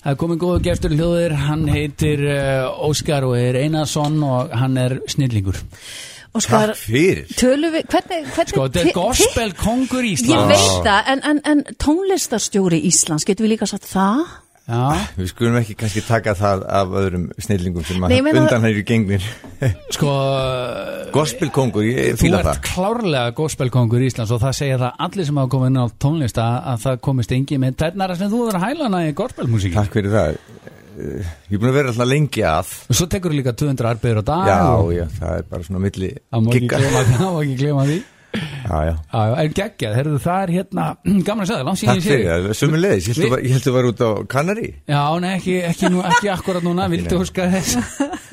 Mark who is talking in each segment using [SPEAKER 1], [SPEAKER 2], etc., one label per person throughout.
[SPEAKER 1] Það er komin góðu gestur í hljóðir, hann heitir uh, Óskar og er Einarsson og hann er snillingur.
[SPEAKER 2] og skar
[SPEAKER 3] fyrir
[SPEAKER 2] tölum við, hvernig, hvernig
[SPEAKER 1] Sko, þetta
[SPEAKER 2] ti-
[SPEAKER 1] er gospel kongur
[SPEAKER 2] ti- ég
[SPEAKER 1] Íslands.
[SPEAKER 2] veit það, en, en, en tónlistarstjóri Íslands, getum við líka sagt það
[SPEAKER 1] Já,
[SPEAKER 3] Við skulum ekki kannski taka það af öðrum snillingum sem
[SPEAKER 2] Nei,
[SPEAKER 3] að
[SPEAKER 2] ég meina-
[SPEAKER 3] undan hægir gengnir
[SPEAKER 1] sko,
[SPEAKER 3] Gospelkongur, ég
[SPEAKER 1] þú
[SPEAKER 3] fýla
[SPEAKER 1] ert
[SPEAKER 3] það
[SPEAKER 1] klárlega gospel kongur Íslands og það segja það allir sem hafa komið inn á tónlist að, að það komist engi með tætnara sem þú verður hælana í gospelmusíki.
[SPEAKER 3] Takk fyrir það Eh, Ég er búin að vera alltaf lengi að
[SPEAKER 1] Og svo tekur líka 200 arbeður á dag.
[SPEAKER 3] Já,
[SPEAKER 1] og-
[SPEAKER 3] já, það er bara svona milli
[SPEAKER 1] Það má ekki
[SPEAKER 3] gigga.
[SPEAKER 1] gleyma- það má ekki glema því.
[SPEAKER 3] Já, já
[SPEAKER 1] Já, já, en geggjað, herðu það er hérna, gaman að segja, langt síðan ég
[SPEAKER 3] Takk
[SPEAKER 1] sé
[SPEAKER 3] fyrir
[SPEAKER 1] þig.
[SPEAKER 3] það, sömu leiðis, ég
[SPEAKER 1] Við-
[SPEAKER 3] held að þú var út á Kanari
[SPEAKER 1] Já, nei, ekki, ekki, nú, ekki akkurat núna, vildi
[SPEAKER 3] nei.
[SPEAKER 1] óska þess.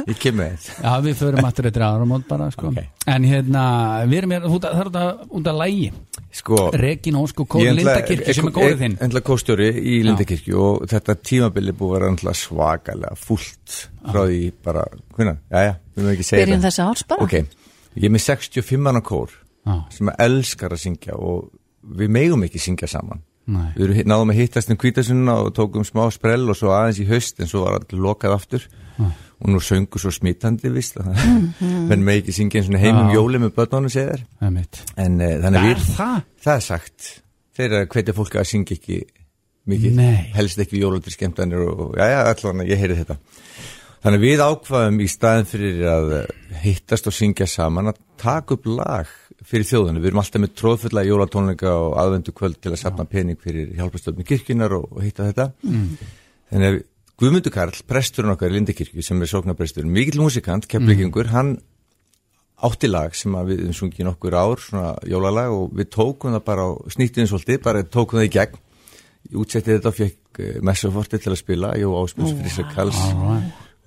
[SPEAKER 3] Ég kem með þetta
[SPEAKER 1] Já, við förum aftur eftir áramót bara, sko.
[SPEAKER 3] Ok.
[SPEAKER 1] En hérna, við erum hérna, þú- það er út að, út að lægi.
[SPEAKER 3] Sko,
[SPEAKER 1] Regín Ósk og Kóri
[SPEAKER 3] eh,
[SPEAKER 1] Lindakirkju sem er góður þinn.
[SPEAKER 3] Endla kóstjóri í Lindakirkju og þetta tímabili búið að vera endla svakalega fullt frá því bara, hvernig, já, já, við mögum ekki segja
[SPEAKER 2] Byrjun
[SPEAKER 3] það.
[SPEAKER 2] þessa árs bara.
[SPEAKER 3] Ok, ég er með 65 manna kór
[SPEAKER 1] Já.
[SPEAKER 3] sem elskar að syngja og við megum ekki syngja saman.
[SPEAKER 1] Nei.
[SPEAKER 3] Við erum, náðum að hittast um kvítasunna og tókum smá sprell og svo aðeins í haust en svo var allir lokað aftur og nú söngu svo smítandi vist að menn með ekki syngja eins og heim um
[SPEAKER 1] Já.
[SPEAKER 3] jóli með börnunum segir
[SPEAKER 1] Það er mitt.
[SPEAKER 3] en uh, þannig að
[SPEAKER 1] Er
[SPEAKER 3] við
[SPEAKER 1] það?
[SPEAKER 3] það er sagt þeir eru að hvetja fólk að syngja ekki mikið,
[SPEAKER 1] Nei.
[SPEAKER 3] helst ekki jólatri skemmtanir og já, já, allan, ég heyri þetta þannig að við ákvaðum í staðin fyrir að eh, hittast og syngja saman að taka upp lag fyrir þjóðinu, við erum alltaf með tróðfulla jólatónleika og aðvendu kvöld til að safna pening fyrir hjálpastöfni kirkjunar og, og hitta þetta þannig að Guðmundur Karl, presturinn okkar í Lindakirkju sem er sóknarpresturinn, mikill músikant, kepplikingur, hann átti lag sem að við sungi nokkur ár, svona jólalag og við tókum það bara á snýttiðin svolítið, bara tókum það í gegn ég útsetti þetta og fekk messuforti til að spila, Jó Áspils, Frísa Kalls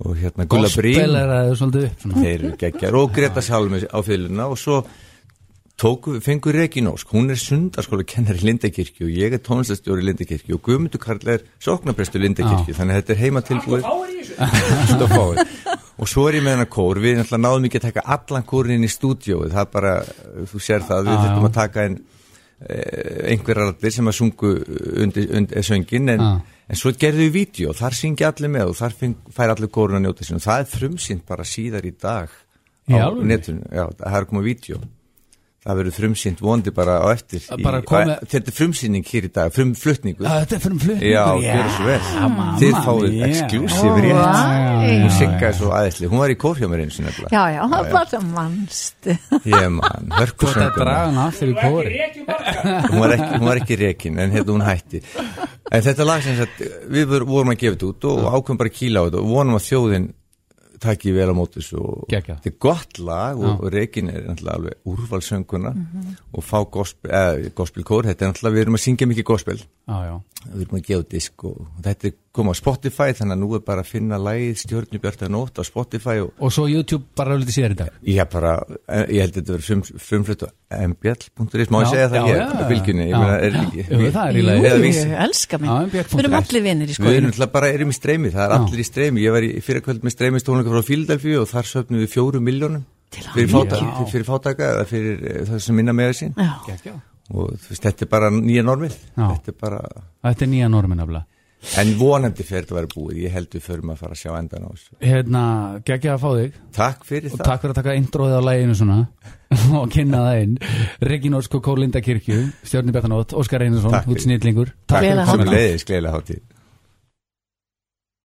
[SPEAKER 3] og hérna Gulla
[SPEAKER 1] Gospel
[SPEAKER 3] Brín
[SPEAKER 1] er að þau svolítið upp. svona.
[SPEAKER 3] þeir eru geggjar og Greta Salmi á fylguna og svo tóku, fengur Regín Ósk, hún er sundarskóla kennar í Lindakirkju og ég er tónlistastjóri í Lindakirkju og Guðmundur Karl er sóknaprestur í Lindakirkju, þannig að þetta er heima tilbúið Allt og fáir. og svo er ég með hennar kór, við náttúrulega náðum ekki að taka allan kórin inn í stúdíóið, það er bara þú sér það, við þurfum að taka inn eh, einhverjar allir sem að sungu undir, undir söngin en,
[SPEAKER 1] Já.
[SPEAKER 3] en svo gerðu við vídeo, þar syngi allir með og þar finn, fær allir kórun að njóta sín og það er frumsýnt bara síðar í dag
[SPEAKER 1] Í
[SPEAKER 3] á
[SPEAKER 1] alvöru?
[SPEAKER 3] netinu, já, það er komið vídeo það verður frumsýnt vondi bara á eftir í,
[SPEAKER 1] Bara komið-
[SPEAKER 3] hvað- þetta er frumsýning hér í dag, frumflutningu
[SPEAKER 1] Já, Þetta er fyrir um flutningur. ah,
[SPEAKER 3] Já, gjörðu svo vel Þið fáið
[SPEAKER 1] mia.
[SPEAKER 3] exclusive
[SPEAKER 2] Ó,
[SPEAKER 3] rétt
[SPEAKER 2] vá.
[SPEAKER 3] Hún sigga er svo aðeinsli, hún var í kór hjá mér eins og nefnilega
[SPEAKER 2] já, já, það var bara mannst
[SPEAKER 3] Ég man,
[SPEAKER 1] Þú ert að
[SPEAKER 3] hörkusöngur
[SPEAKER 1] draga hann aftur í kóri.
[SPEAKER 3] hún, var ekki- hún var ekki rekin en hérna hún hætti En þetta lag sem sagt, við vor- vorum að gefa þetta út og ákveðum bara að kýla á þetta og vonum að þjóðin taki vel á móti þessu og
[SPEAKER 1] Geggjað.
[SPEAKER 3] þetta er gott lag og, og rekin er náttúrulega alveg úrvalsönguna
[SPEAKER 1] Mhm.
[SPEAKER 3] og fá gospel, eh, gospelkór þetta er náttúrulega, við erum að syngja mikið gospel
[SPEAKER 1] Já, já.
[SPEAKER 3] við erum að gefa út disk og þetta er komið á Spotify þannig að nú er bara að finna lægið stjórnubjörta nótt á Spotify og
[SPEAKER 1] Og svo YouTube bara lítið síðar í dag.
[SPEAKER 3] ég hef bara, eh, ég held að þetta verið frum, frumflutt á mbl.is, má ég
[SPEAKER 1] Já,
[SPEAKER 3] segja það
[SPEAKER 1] já,
[SPEAKER 3] hér
[SPEAKER 1] já,
[SPEAKER 3] á bylgjunni,
[SPEAKER 1] já.
[SPEAKER 3] ég meina er ekki
[SPEAKER 1] Jú, það er í
[SPEAKER 2] Jú,
[SPEAKER 1] lagi.
[SPEAKER 3] Eða
[SPEAKER 2] ég
[SPEAKER 3] Vísi.
[SPEAKER 2] elska mig
[SPEAKER 1] Já, en björn punktur
[SPEAKER 2] Við erum
[SPEAKER 1] is.
[SPEAKER 2] allir vinir í
[SPEAKER 3] Við erum
[SPEAKER 2] skoðinu
[SPEAKER 3] alltaf bara erum í streymi, það er allir í streymi ég var í fyrirkvöld með streymistónleika frá Fíldelfíu og þar söfnum við fjórum miljónum fyrir, fáta,
[SPEAKER 1] Já.
[SPEAKER 3] fyrir fátaka eða fyrir eh, það sem minna með sín
[SPEAKER 2] Já,
[SPEAKER 1] Geggjað.
[SPEAKER 3] og þú veist, þetta er bara nýja normið
[SPEAKER 1] Já.
[SPEAKER 3] þetta er bara,
[SPEAKER 1] Þetta er nýja normin afla.
[SPEAKER 3] en vonandi fyrir þetta að vera búið ég held við förum að fara að sjá endan á þessu
[SPEAKER 1] Hérna, geggjað að fá þig.
[SPEAKER 3] Takk fyrir
[SPEAKER 1] og
[SPEAKER 3] það
[SPEAKER 1] takk fyrir að taka introðið á læginu svona og kynna það inn Regín Ósk og Kór Linda Kirkju, Stjórni Bjartanótt, Óskar Einarsson,
[SPEAKER 3] Takk fyrir.
[SPEAKER 1] Útsnýtlingur
[SPEAKER 2] Gleðilega
[SPEAKER 3] Takk
[SPEAKER 2] hátíð.
[SPEAKER 3] fyrir leiðis, gleðilega hátíð